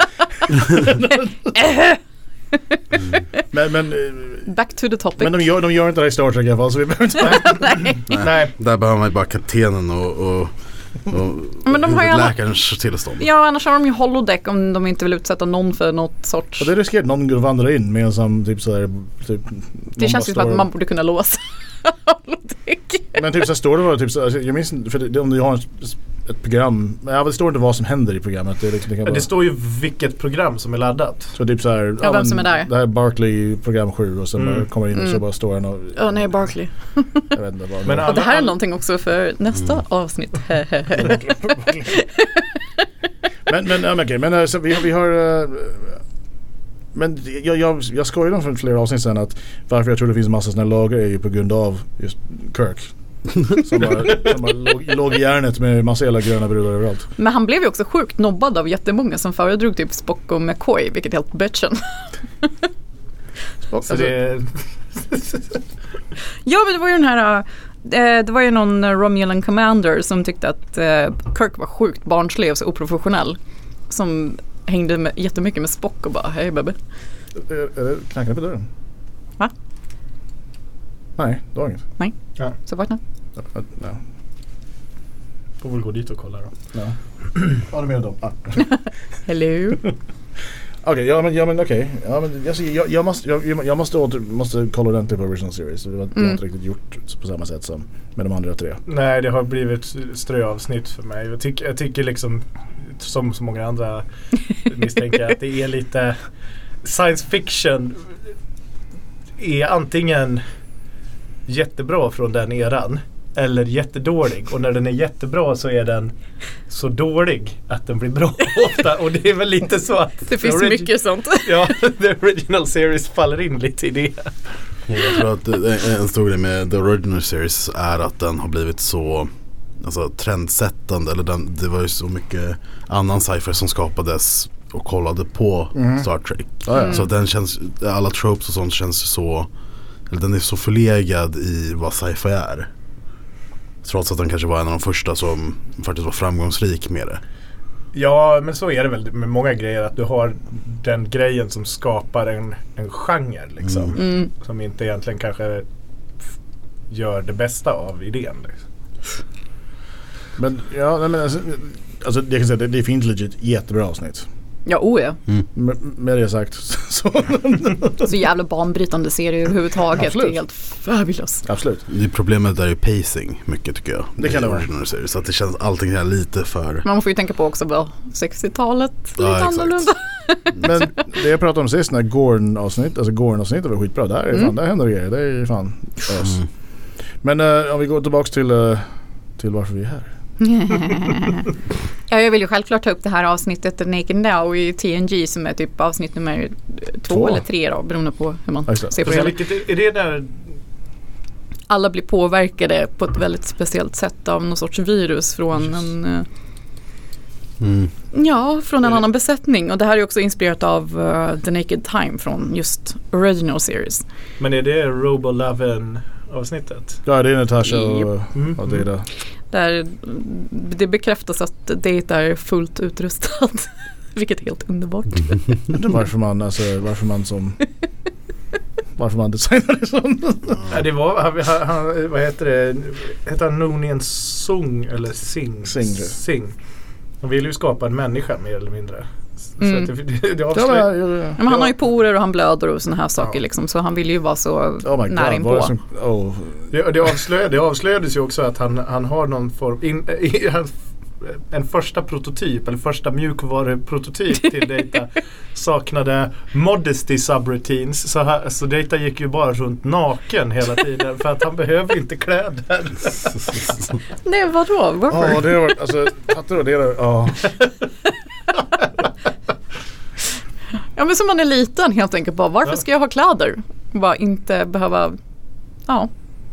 men, men, eh,
Back to the topic.
men de, gör, de gör inte det här i Star Trek i alla fall. Så vi behöver inte...
nej.
Där behöver man ju bara kaptenen och, och, och
Men de har ju alla-
läkarens tillstånd.
Ja, annars har de ju holodeck om de inte vill utsätta någon för något sorts...
Och det riskerar att någon går och vandrar in med en sån typ sådär. Typ,
Det
någon bara
känns ju som
står-
att man borde kunna låsa holodeck.
Men typ så här står det bara typ så här, Jag minns inte, för det, om du har ett, ett program. Ja, men det står inte vad som händer i programmet. Det, är liksom, det kan
Men
vara,
Det står ju vilket program som är laddat.
så typ så här,
vem
men
som är där.
Det här är Barkley program 7 och sen
Mm.
bara kommer in och så bara står han och...
Åh nej, Barkley.
Jag vet inte vad.
Men
Och det här är
Alla-
någonting också för nästa
Mm.
avsnitt.
Men, men, ja, men, okej, men eh, så vi, vi har... eh, Men jag, jag, jag skojade om för flera avsnitt sen att varför jag tror det finns massa sådana lagar är ju på grund av just Kirk. Som bara, som bara låg, låg i järnet med massa jävla gröna brudar överallt.
Men han blev ju också sjukt nobbad av jättemånga som föredrog typ Spock och McCoy, vilket är helt bitchen.
Så det,
Ja men det var ju den här, eh, det var ju någon eh, Romulan Commander som tyckte att eh, Kirk var sjukt barnslig och så oprofessionell. Som hängde med, jättemycket med Spock och bara hej baby.
Eh, är, är det knackande på dörren?
Va?
Nej, det var inget.
Så vakna.
Ja, ja, ja.
Får väl gå dit och kolla då.
Ja, ja du menar dem. Ah.
Hello.
Okej, ja men, ja, men okej. Ja, men, alltså, jag, jag, måste, jag, jag måste, åter, måste kolla ordentligt på original series. Det har det har jag
Mm.
inte riktigt gjort på samma sätt som med de andra tre.
Nej, det har blivit ströavsnitt för mig. Jag tycker, jag tycker liksom, som så många andra misstänker, jag, att det är lite science fiction är antingen jättebra från den eran eller jättedålig. Och när den är jättebra så är den så dålig att den blir bra ofta. Och det är väl lite så att
Det finns
the origi-
mycket sånt.
Ja, the original series faller in lite i det.
Jag tror att eh, en stor grej med The Original Series är att den har blivit så alltså, trendsättande. Eller den, det var ju så mycket annan sci-fi som skapades och kollade på
Mhm.
Star Trek.
Ja, ja.
Så att den känns, alla tropes och sånt känns så, eller den är så förlegad i vad sci-fi är. Trots att den kanske var en av de första som faktiskt var framgångsrik med det.
Ja, men så är det väl med många grejer. Att du har den grejen som skapar en, en genre. Liksom,
Mm.
Mm.
Som inte egentligen kanske f- gör det bästa av idén. Liksom.
Men ja, nej, men alltså, alltså jag kan säga att det, det finns legit jättebra avsnitt.
Ja, oh ja.
Med, med det sagt så
Så jävla banbrytande serie överhuvudtaget.
Absolut.
Det är helt fabulous.
absolut.
Det problemet är ju pacing mycket tycker jag.
Det kan
I
det vara.
original series. Så att det känns allting är lite för...
Man får ju tänka på också vad 60-talet
Ja,
lite
exakt.
annorlunda.
Men det jag pratade om sist, när Gorn-avsnitt, alltså Gorn-avsnittet var skitbra. Där, är fan,
Mm.
där händer det grejer. Det är ju fan ös.
Mm.
Men eh, om vi går tillbaks till, eh, till varför vi är här.
ja, jag vill ju självklart ta upp det här avsnittet The Naked Now i TNG som är typ avsnitt nummer två,
Två.
eller tre då, beroende på hur man
Ja, just det.
ser på det.
Precis,
hela.
vilket är, är det där...
Alla blir påverkade på ett väldigt speciellt sätt av någon sorts virus från
Precis.
en eh,
Mm.
Ja, från en
Eller-
annan besättning och det här är också inspirerat av eh, The Naked Time från just Original Series.
Men är det Robolaven avsnittet?
Ja, det är Natasha och,
Mm.
och det är det.
Där mm, det bekräftas att Data är fullt utrustad. Vilket är helt underbart.
Undrar varför man, alltså, varför man som... Varför man designar det som.
Ja, det var, han, han- han, vad heter det? Hette han Noonien Sung eller Sing?
Sing, tror jag.
Sing. De ville ju skapa en människa mer eller mindre. S-
Mm.
Så att det, det, det
Ja,
avslöjar...
men, ja,
Men han har ju porer och han blöder och sådana här saker
Ja.
liksom. Så han vill ju vara så
ja. Oh my
nära
god, vad är
inpå.
det som... Oh.
Det, det, avslöjade, det avslöjades ju också att han, han har någon form, in, i- han- en första prototyp, eller första mjukvaruprototyp till Data saknade modesty subroutines. Så, här, så Data gick ju bara runt naken hela tiden för att han behöver inte kläder.
Nej vadå? Varför?
Ja, det har varit, alltså fattar du? Det är, ja.
Ja men som man är liten helt enkelt. Bara, varför
Ja.
ska jag ha kläder? Bara inte behöva... Ja.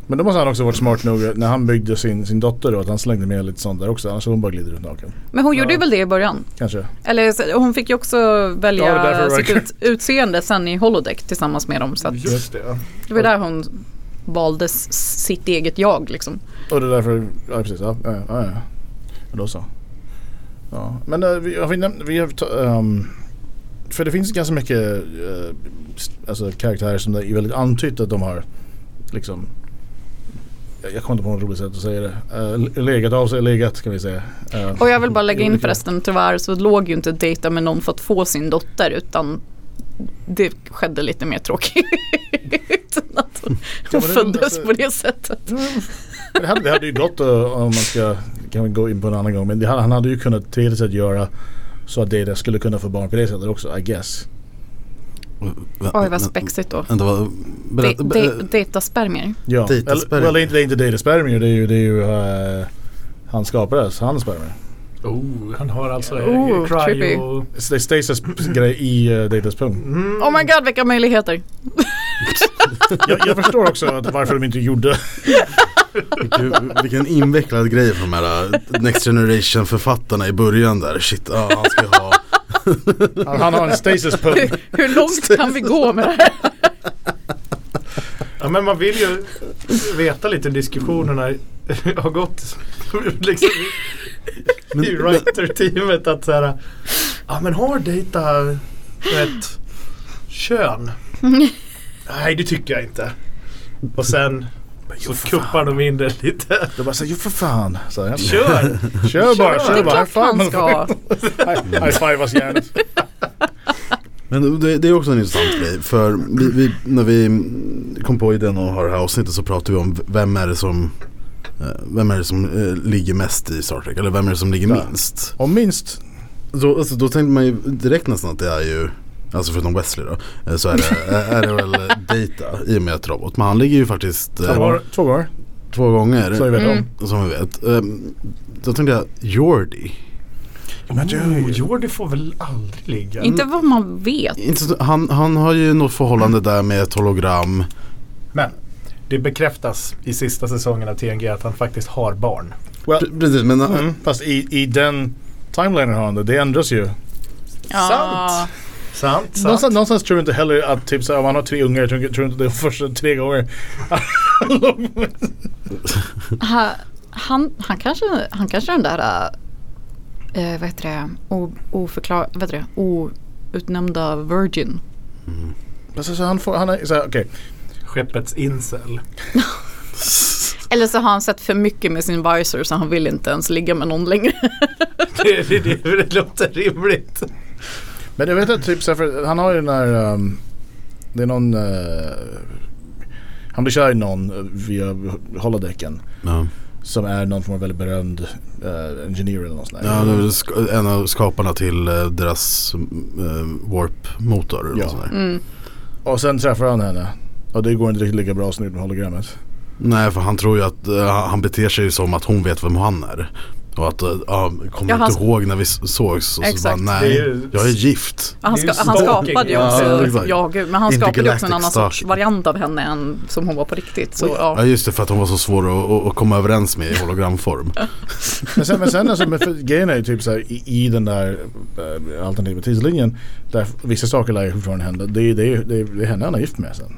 Men då måste han också varit smart nog när han byggde sin, sin dotter då, att han slängde med lite sånt där också. Annars hade hon bara glidit runt naken.
Men hon gjorde
Ja.
ju väl det i början.
Kanske.
Eller så- hon fick ju också
Ja, det är
välja
därför det
sitt
verkar-
ut, utseende sen i Holodeck tillsammans med dem. Så att
Just det.
det var där hon valde s- sitt eget jag liksom.
Och det är därför, ja precis. Ja, ja, ja. ja. Men då så. Ja. Men eh, vi har vi nämnt, vi har, ta- ehm, för det finns ganska mycket eh, s- alltså, karaktärer som det är väldigt antytt att de har liksom jag jag kommer inte på något roligt sätt att säga det. Eh, legat av sig, legat kan vi säga. Eh,
Och jag vill bara lägga
i
in
olika-
förresten, tyvärr så låg ju inte Data med någon för att få sin dotter utan det skedde lite mer tråkigt. Utan att hon hon
men det-
föddes
alltså-
på det sättet.
Men Det hade, det hade ju gått att- om man ska, kan vi gå in på en annan gång. Men det, hade- han hade ju kunnat till sig att göra så att det skulle kunna få barn på det sättet också, I guess.
Oj vad spexigt då.
Mm.
Vänta, vad...
De,
Berätta,
de, dataspermier.
Ja.
Dataspermier.
Eller, well, det är inte, det är inte dataspermier, det är ju, det är ju eh, han skapades, hans spermier.
Oh, han har alltså
Oh, trippy.
cryo...
Så Det är Stasis grej i uh, dataspung.
Mm.
Oh my god vilka möjligheter.
Jag, jag förstår också att varför de inte gjorde
Vilken, vilken invecklad grej för de här äh, Next Generation författarna i början där. Shit, ja han ska ha.
Han, han har en Stasis-pung.
Hur, hur långt kan vi gå med det här?
Ja men man vill ju veta lite hur diskussionerna har gått. liksom,
Men-
I writer-teamet att så här, ja men har data rätt Kön? Nej, det tycker jag inte. Och sen så kuppar de in det lite.
Då bara så jo för fan. Så här.
Kör!
Kör bara,
Kör. Det
kör
Det
är
är
bara.
klart man ska.
High five oss gärna.
Men det, det är också en intressant grej. För vi, vi, när vi kom på idén och har det här avsnittet så pratade vi om vem är det som eh, vem är det som eh, ligger mest i Star Trek? Eller vem är det som ligger
Ja.
minst?
Om minst.
Då, alltså, då tänkte man ju direkt nästan att det är ju, alltså förutom Wesley då, eh, så är det, är det väl Data i och med att robot. Men han ligger ju faktiskt eh,
Två gånger. Två gånger.
två gånger.
Så vi vet
Mm.
Som vi vet. Ehm, Då tänkte jag Jordi.
Men du-
Oh, Jordi får väl aldrig ligga?
Inte vad man vet.
Inte så- Han, han har ju något förhållande där med ett hologram.
Men det bekräftas i sista säsongen av TNG att han faktiskt har barn.
Well,
Pre- Precis men
mm, fast i, i den timelinen har han det. Det ändras ju.
Ja.
Sant, sant.
Någonstans, någonstans tror jag inte heller att typ såhär, om han har tre ungar, jag tror, tror inte det är första tre gånger.
Ha- Han, han, kanske, han kanske är den där, eh, vad heter det, o, oförklar, vad heter det, outnämnda virgin.
Fast alltså, han får, han är såhär, okej.
Skeppets incel.
Eller så har han sett för mycket med sin visor så han vill inte ens ligga med någon längre.
Det, det, det, det låter rimligt.
Men jag vet att typ såhär, för han har ju den här, ehm, det är någon, eh, han blir kär i någon eh, via holodecken.
Ja.
Som är någon form av väldigt berömd eh, ingenjör eller något sånt där.
Ja, det är väl sk- en av skaparna till eh, deras eh, Warp-motor. eller
Ja.
något sånt där.
Mm.
Och sen träffar han henne. Och det går inte riktigt lika bra som med hologrammet.
Nej, för han tror ju att eh, han beter sig som att hon vet vem han är. Och att, eh, ja, kommer
Ja,
inte
han-
ihåg när vi s- sågs? Och
Exakt.
så bara,
Det
nej,
är ju-
jag är gift.
Han,
Det är ju
ska, han
stalking.
skapade ju
Ja,
också, ja,
exakt.
gud, men han skapade ju också en annan
Intergalactic
sorts
stalking.
variant av henne än som hon var på riktigt. Så, ja.
Ja, just det, för att hon var så svår att, att- att komma överens med i hologramform.
Men sen, men sen alltså, men för, grejen är ju typ så här, i, i den där äh, alternativa tidslinjen. Där vissa saker lär ju fortfarande hända. Det, är- det, är- det, är- det är henne han är gift med sen.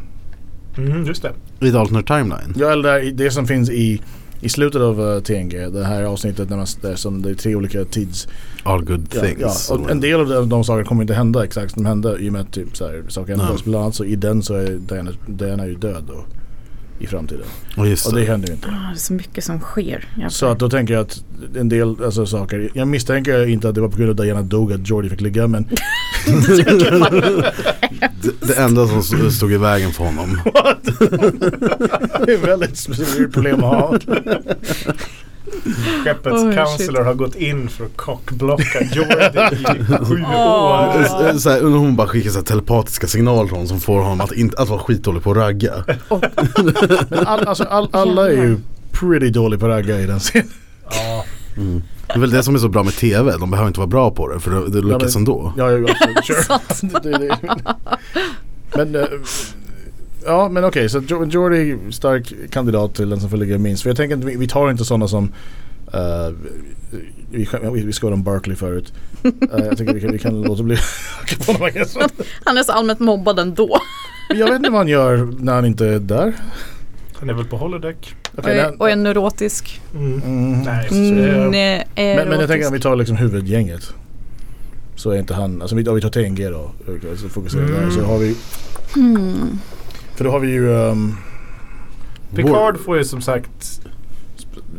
Mm, just det.
I the alternate timeline.
Ja, eller där, i- det som finns i, i slutet av eh, TNG. Det här avsnittet när man, där som det är tre olika tids...
All good
Ja,
things.
ja, och en del av de, de sakerna kommer inte hända exakt som de hände i och med att typ, så här, saker ändras. Bland annat så i den så är Diana, Diana är ju död då. I framtiden.
Och just
Och det
det.
händer ju inte.
Ah, Det är så mycket som sker. Jag-
Så att då tänker jag att en del alltså, saker, jag misstänker inte att det var på grund av att Diana dog att Jordi fick ligga men
Det, det enda som st- stod i vägen för honom.
det är väldigt stort problem att ha.
Skeppets
Oh, shit.
counselor har gått in för att cockblocka Jordi i sju
Åh.
år.
Så- Så här, hon bara skickar så här telepatiska signaler till honom som får honom att, inte, att vara skitdålig på att ragga.
Men all, alltså, all, alla är ju pretty dålig på att ragga i den scenen.
Ja,
Det är väl det som är så bra med TV, de behöver inte vara bra på det för det, det lyckas
men-
ändå.
Ja, jag absolut, sure. det, det. Men eh, ja men okej så Jo- Jordi stark kandidat till den som får ligga minst. För jag tänker att vi, vi tar inte sådana som eh, vi, skäm- vi, vi skojade om Barkley förut. Eh, jag tänker vi kan, vi kan låta bli på honom. I guess.
Han är så allmänt mobbad ändå.
Men Jag vet inte vad han gör när han inte är där.
han är väl på holodeck.
Okej,
och,
när-
är, och är neurotisk.
Mm.
Mm.
Nej,
Mm,
eh,
eh,
Men, men jag tänker
erotisk.
om vi tar liksom huvudgänget. Så är inte han, alltså om vi- om vi tar TNG då. eh, Så fokuserar vi där.
Mm.
Så har vi,
Mm.
för då har vi ju ehm,
Picard får ju som sagt,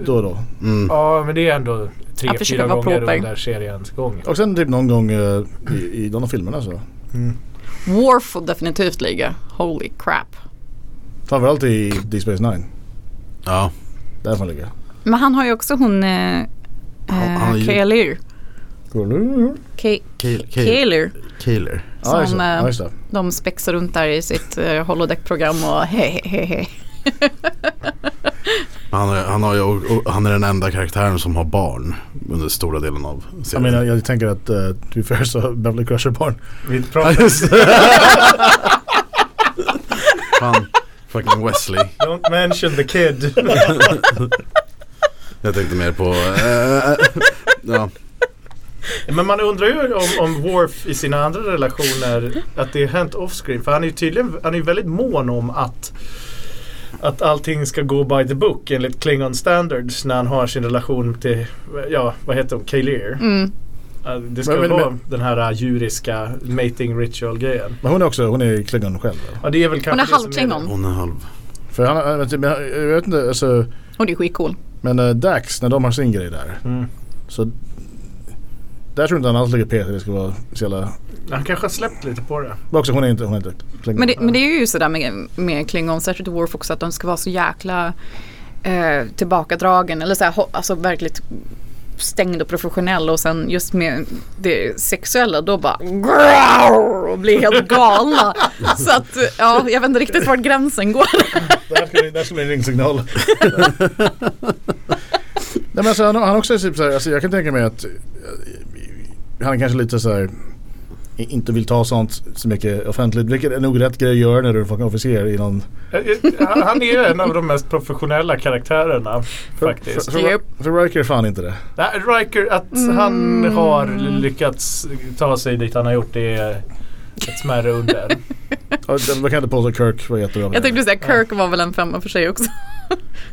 då och då.
Mm.
ja men det är ändå tre,
Han försöker
fyra
vara
gånger
proper.
under seriens gång.
Och sen typ någon gång eh, i, i de här filmerna så.
Worf får definitivt ligga. Holy crap.
Framförallt i Deep Space Nine.
Ja.
Där får han ligga.
Men han har ju också hon eh,
Han- han är ju-
Kaelir. Ka-
Kael- Kael-
Kaelir.
Kaeler.
Ja just
Som,
det.
eh,
Ja, just det.
De spexar runt där i sitt eh, holodeck-program och hehehehe.
Han är, han, har ju, och, och, han är den enda karaktären som har barn under stora delen av
Jag
serien.
menar jag tänker att eh, to be fair så har Beverly Crusher barn.
Vi
Ja,
pratar,
just det. Fan, fucking Wesley.
don't mention the kid.
Jag tänkte mer på... eh, eh, ja.
Men man undrar ju om, om Worf i sina andra relationer att det har hänt offscreen. För han är ju tydligen han är ju väldigt mån om att, att allting ska gå by the book enligt Klingon standards när han har sin relation till, ja vad heter hon, Kaelir.
Mm.
eh, det ska
Men- men-
vara
men-
den här eh, djuriska mating ritual grejen.
Men hon är också, hon är klingon själv. eller?
Ja, det är väl kanske
Hon är
det som
halvklingon.
Hon är halv.
För han, jag vet inte, men jag vet inte, alltså,
Hon är skitcool.
men eh, Dax när de har sin grej där.
det. Mm.
Så där tror jag inte han alls tycker Peter det ska vara så jävla...
Han kanske har släppt lite på det.
Men också hon är inte, hon är inte klingon.
Men det, men det är ju sådär med, med Klingon, särskilt i Worf också, att de ska vara så jäkla eh, tillbakadragen eller såhär, ho- alltså verkligt stängd och professionell och sen just med det sexuella då bara grrrr, och blir helt galna. så att ja, jag vet inte riktigt vart gränsen går.
Där skulle, där skulle en ringsignal. Nej men alltså, han, han också är typ så här, alltså, jag kan tänka mig att eh, han kanske lite så här i- inte vill ta sånt så mycket offentligt. Vilket är nog rätt grej att göra när du är fucking officer i någon...
Eh, eh, Han han är ju en av de mest professionella karaktärerna faktiskt.
För, för,
Japp.
för, för Riker är fan inte det.
Nej, Riker, att han
Mm.
har lyckats ta sig dit han har gjort det är ett smärre under.
Ja, det- Man kan inte påstå att Kirk var jättebra. på
jag
det.
tänkte säga Kirk var väl en femma för sig också.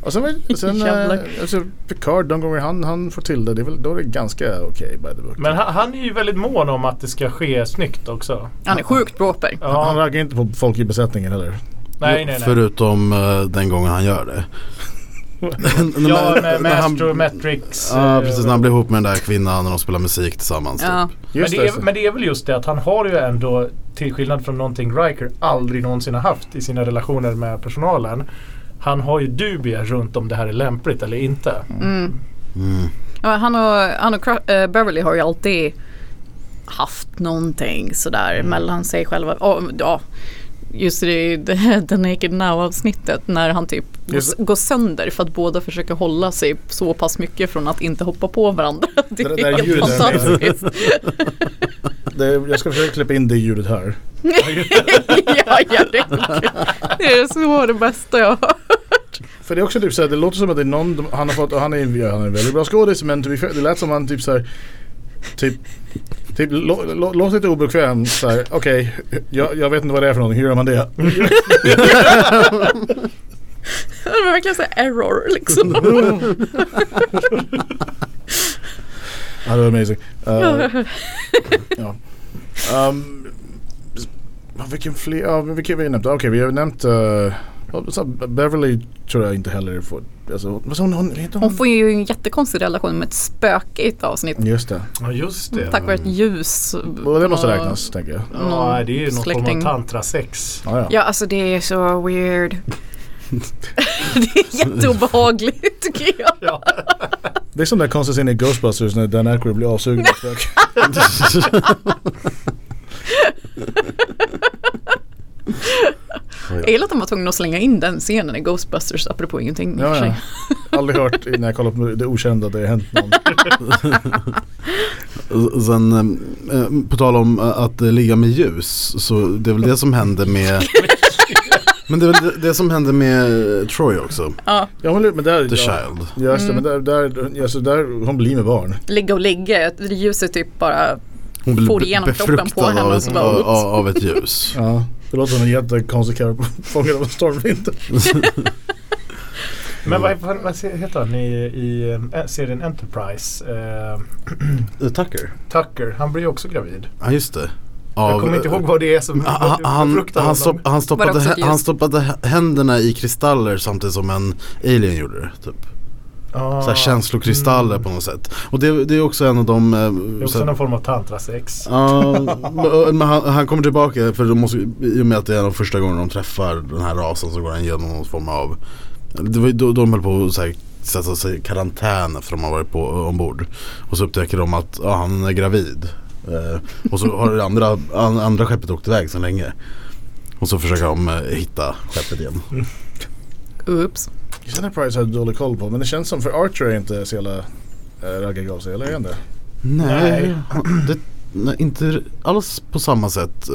Och sen, var- sen
Jävlar.
eh, alltså, Picard, de gånger han, han får till det, det är väl, då är det ganska okej by the book.
Men han, han är ju väldigt mån om att det ska ske snyggt också.
Han är sjukt proper.
Ja, han
Ja,
raggar inte på folk i besättningen heller.
nej, nej, nej.
Förutom eh, den gången han gör det.
Ja, med
när han-
Mastrometrics.
Ja
eh,
precis, när han blir ihop med den där kvinnan och de spelar musik tillsammans.
Ja.
Typ.
Just alltså.
men, det är, men det är väl just det att han har ju ändå, till skillnad från någonting Riker aldrig någonsin har haft i sina relationer med personalen. Han har ju dubier runt om det här är lämpligt eller inte.
Mm.
Mm.
Ja, men han och, han och Cru- eh, Beverly har ju alltid haft någonting sådär
Mm.
mellan sig själva. Och, ja, just i det The Naked Now avsnittet när han typ går,
Just-
s- går sönder för att båda försöker hålla sig så pass mycket från att inte hoppa på varandra. Det
Det
är
där
helt
ljudet.
fantastiskt.
Det, jag ska försöka klippa in det ljudet här.
ja, ja, det, det är så det bästa jag har.
För det är också typ såhär, det låter som att det är någon, de- han har fått, och han är, ja, han är en väldigt bra skådis men typ, det lät som han typ såhär, typ, typ lå, lå, låter lite obekväm såhär, okej, jag, jag vet inte vad det är för någonting, hur gör man det?
Det var verkligen så här error liksom.
Ja, det var amazing. Eh, ja. Ehm, s- ja, vilken fler, ja, vilken vi har nämnt? Okej, vi har nämnt eh, ja, så Beverly tror jag inte heller får, alltså, vad sa hon, hon, heter
Hon
hon?
får ju en jättekonstig relation med ett spöke i ett avsnitt.
Just det.
Ja just det.
Tack vare ett ljus.
Och det måste räknas, tänker jag.
Ja, det är ju någon form
släkting.
av tantrasex.
Ja, ja.
Ja, alltså det är så weird. det är jätteobehagligt tycker jag.
Ja.
Det är som den konstiga scenen i Ghostbusters när Dan Aykroyd blir avsugen av ett spöke.
Jag gillar att de var tvungna att slänga in den scenen i Ghostbusters apropå ingenting. i och för
Ja,
sig.
ja. Aldrig hört i- när jag kollar på det okända att det har hänt någon.
Och Sen, eh, eh, på tal om eh, att eh, ligga med ljus, så det är väl det som händer med Men det är väl det- det som händer med eh, Troy också,
Ja, men, men där,
The
ja,
Child.
just det, men där, där, alltså, där, hon blir med barn.
Ligga och ligga, ljuset typ bara
Hon blir
Får
be-
igenom kroppen på
befruktad
henne
av
och
ett,
så bara,
av,
"Oops."
av, av ett ljus.
Ja, det låter som en jättekonstig karaktär fångad av en stormvind.
Men vad, vad, vad heter han i, i eh, serien Enterprise? Eh,
Tucker?
Tucker, han blir ju också gravid.
Ja just det.
Jag
Av-
kommer inte ihåg vad det är som
Ah, ah,
vad- vad
Han,
fruktar
han,
honom.
stopp, han,
Bara
stoppade,
också
hä-
ett ljus.
han stoppade hä- händerna i kristaller samtidigt som en alien gjorde det. Typ.
Ah,
Så här känslokristaller på något sätt. Och det, det är också en av de... eh,
Det är
så
också
här- Ah.
någon form av tantrasex.
Ja, men han, han kommer tillbaka för de måste, i och med att det är de första gången de träffar den här rasen så går han igenom någon form av Det var ju då de höll på att så här sätta sig i karantän för de har varit på, ombord Och så upptäcker de att ja, han är gravid eh, Och så har det andra, an, andra skeppet åkt iväg sedan länge Och så försöker de eh, hitta skeppet igen
oops.
Just Enterprise har jag dålig koll på men det känns som för Archer är inte så jävla äh, raggig av sig, eller är han det?
Nej.
han- det, nej inte alls på samma sätt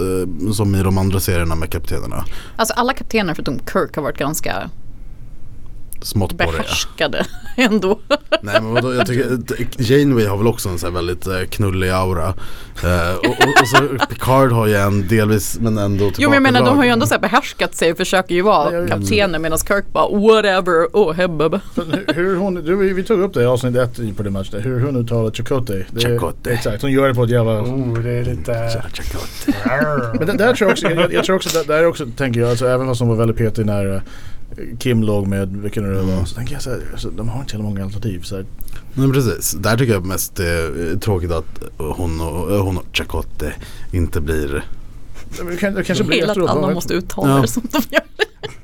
eh, som i de andra serierna med kaptenerna
Alltså alla kaptener förutom Kirk har varit ganska
smått på det.
behärskade ändå.
Nej men vadå, jag tycker att Janeway har väl också en så här väldigt eh, knullig aura. Eh, och, och, och så Picard har ju en delvis men ändå
Jo men jag menar de har ju
tillbakadragen.
ändå så här behärskat sig och försöker ju
Ja, jag
vara
vet.
kaptenen medan Kirk bara whatever, oh hebbeb.
Men hur- hur hon, du, vi tog upp det i avsnitt ett i på det matchen, hur hon uttalar Chakotay. Mm. Det är-
Chakotay.
Exakt, hon gör det på ett jävla...
Oh, det är lite...
Tja, tja, gott.
Men det, där tror jag också, jag, jag tror också, där, där också tänker jag, alltså, även fast hon var väldigt petig när eh, Kim låg med, vilken det nu var,
Mm.
så tänker jag så här, alltså, de har inte så jävla många alternativ. Så här,
Nej men precis, där tycker jag mest det är tråkigt att hon och, eh, hon och Chakotte inte blir
men det kan, det kanske blir
Hela att
efteråt, man
alla
vet
måste uttala
Ja.
det som de gör.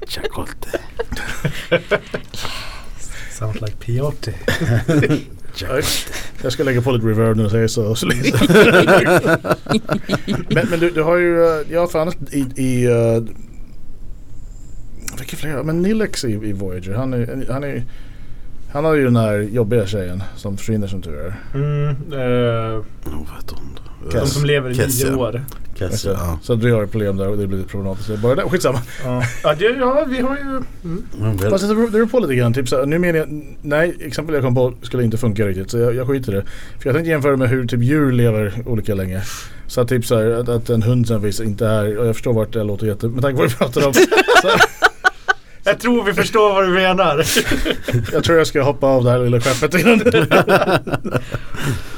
Chakotte.
Sounds like peyote.
Jag ska lägga på lite reverb när du säger så. så lite. men men du, du har ju, eh, ja för annars i, i eh, vilka fler, men Nilex i, i Voyager, han är, han är han har ju den här jobbiga tjejen som försvinner som tur är.
Mm, eh,
Vad heter hon då? Eh,
de som lever i
Kessia.
nio år.
Kessia, ja.
Så du har ett problem där och det blir lite problematiskt. Det är Bara där, skitsamma.
Ja, ja, det, ja vi har ju... Mm.
Hon vill-
Fast det beror det beror på lite grann. Typ så här, nu menar jag, nej, exempel jag kom på skulle inte funka riktigt så jag, jag skiter i det. För jag tänkte jämföra med hur typ djur lever olika länge. Så att typ så här, att, att en hund sen visst inte är, och jag förstår vart det låter jätte, med tanke på vad vi pratar om. Så
Jag tror vi förstår vad du menar.
jag tror jag ska hoppa av det här lilla skeppet innan.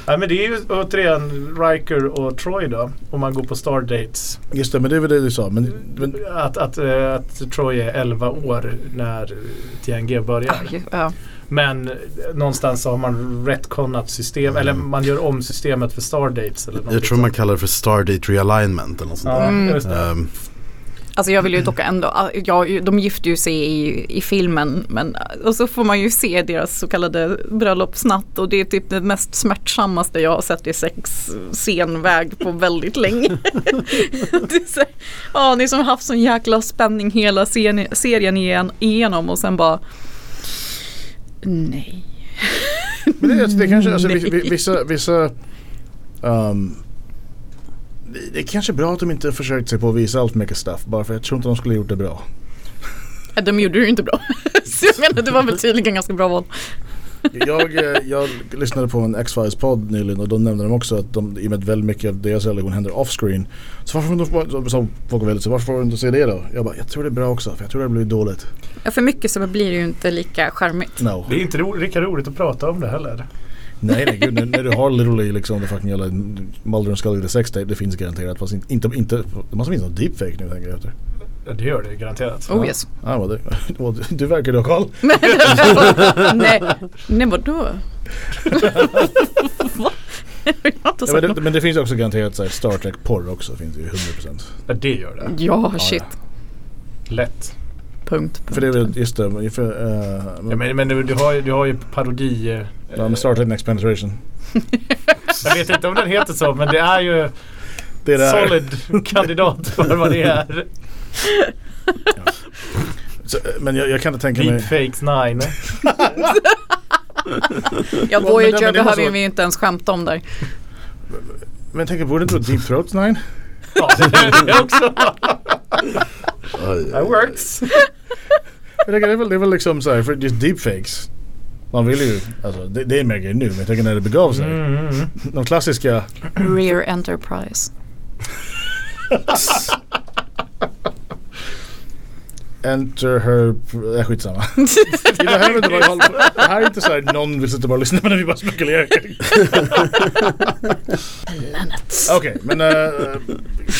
Ja, men det är ju återigen Riker och Troy då. Om man går på Star Dates.
Just det, men det var det du sa. Men, men
Att, att, eh, att Troy är 11 år när TNG börjar.
Aj, Ah, ja.
Men eh, någonstans så har man retconat system. Eller man gör om systemet för Star Dates. Eller
Jag tror man kallar det för Stardate Realignment eller något sånt
Ja,
Mm.
just
där.
det.
Ehm,
Alltså jag vill ju dock ändå, ja, de gifter ju sig i, i filmen men, och så får man ju se deras så kallade bröllopsnatt och det är typ det mest smärtsammaste jag har sett i sex scenväg på väldigt länge. det är så, här, ja, ni som haft sån jäkla spänning hela scen, serien igen, igenom och sen bara nej.
Men det, det kanske, alltså, vi- vi-
Nej.
vissa, vissa ehm, det- det är kanske är bra att de inte försökt sig på att visa allt för mycket stuff bara för jag tror inte de skulle gjort det bra.
Äh, De gjorde det ju inte bra. så jag menar det var väl tydligen ganska bra val.
Jag, eh, jag lyssnade på en X-Files podd nyligen och då nämnde de också att de, i och med att väldigt mycket av deras relation händer off-screen. Så varför får de, så- så folk väldigt, så varför får de inte se det då? Jag bara, jag tror det är bra också för jag tror det blir dåligt.
Ja, För mycket så blir det ju inte lika charmigt.
No.
Det är inte ro, lika roligt att prata om det heller.
Nej nej gud, när, när du har literally liksom det fucking jävla Mulder and Scully the sex tape, det finns garanterat. Fast inte, inte, inte det måste finnas någon deepfake nu tänker jag efter.
Ja, det gör det garanterat.
Oh yes.
Ah, vad det, vad du- du verkar ju ha koll.
Nej, nej vadå? Va? Jag har inte
Ja, men,
sagt
det,
något.
men det finns också garanterat så här, Star Trek porr också, finns det ju 100%.
Ja, det gör det.
Ja, shit.
Lätt.
Punkt.
För det är väl, just eh, det, men för, eh,
Ja, men men du, du, har, ju- du har ju parodi... eh,
ja, men Star Trek Next Penetration.
Jag vet inte om den heter så men det är ju
Det är det här.
solid kandidat för vad det är.
Så, eh, men jag, jag kan inte tänka mig...
Deepfakes 9.
Ja,
men- men det
Voyager
måste
behöver
vara-
vi inte ens skämta om där.
Men jag tänker, borde inte vara Deep Throat 9?
Ja, det är det också.
oj.
That works.
Jag tänker, det, är väl, det är väl liksom så här, för just deepfakes. Man vill ju, alltså det, det är mer grejer nu, men jag tänker när det begav sig.
Mm, mm, mm.
De klassiska,
Rear Enterprise.
enter her, äh, skitsamma. Vi behöver inte bara hålla på. Det här är inte så här, någon vill sitta och bara lyssna på när vi bara spekulerar.
Planets.
Okej, men eh,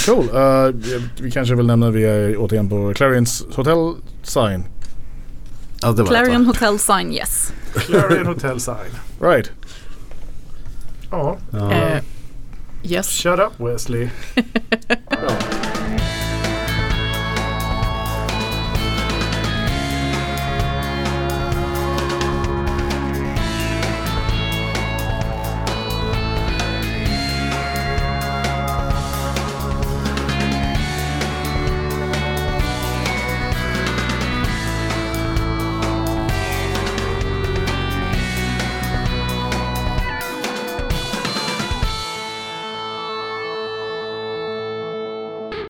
cool. Eh, vi kanske vill nämna, vi är återigen på Clarions Hotel Sign.
Ja, det var rätt, va?
Clarion Hotel Sign, yes.
Clarion Hotel sign.
Right.
Ja,
Ja.
Eh, yes.
shut up Wesley.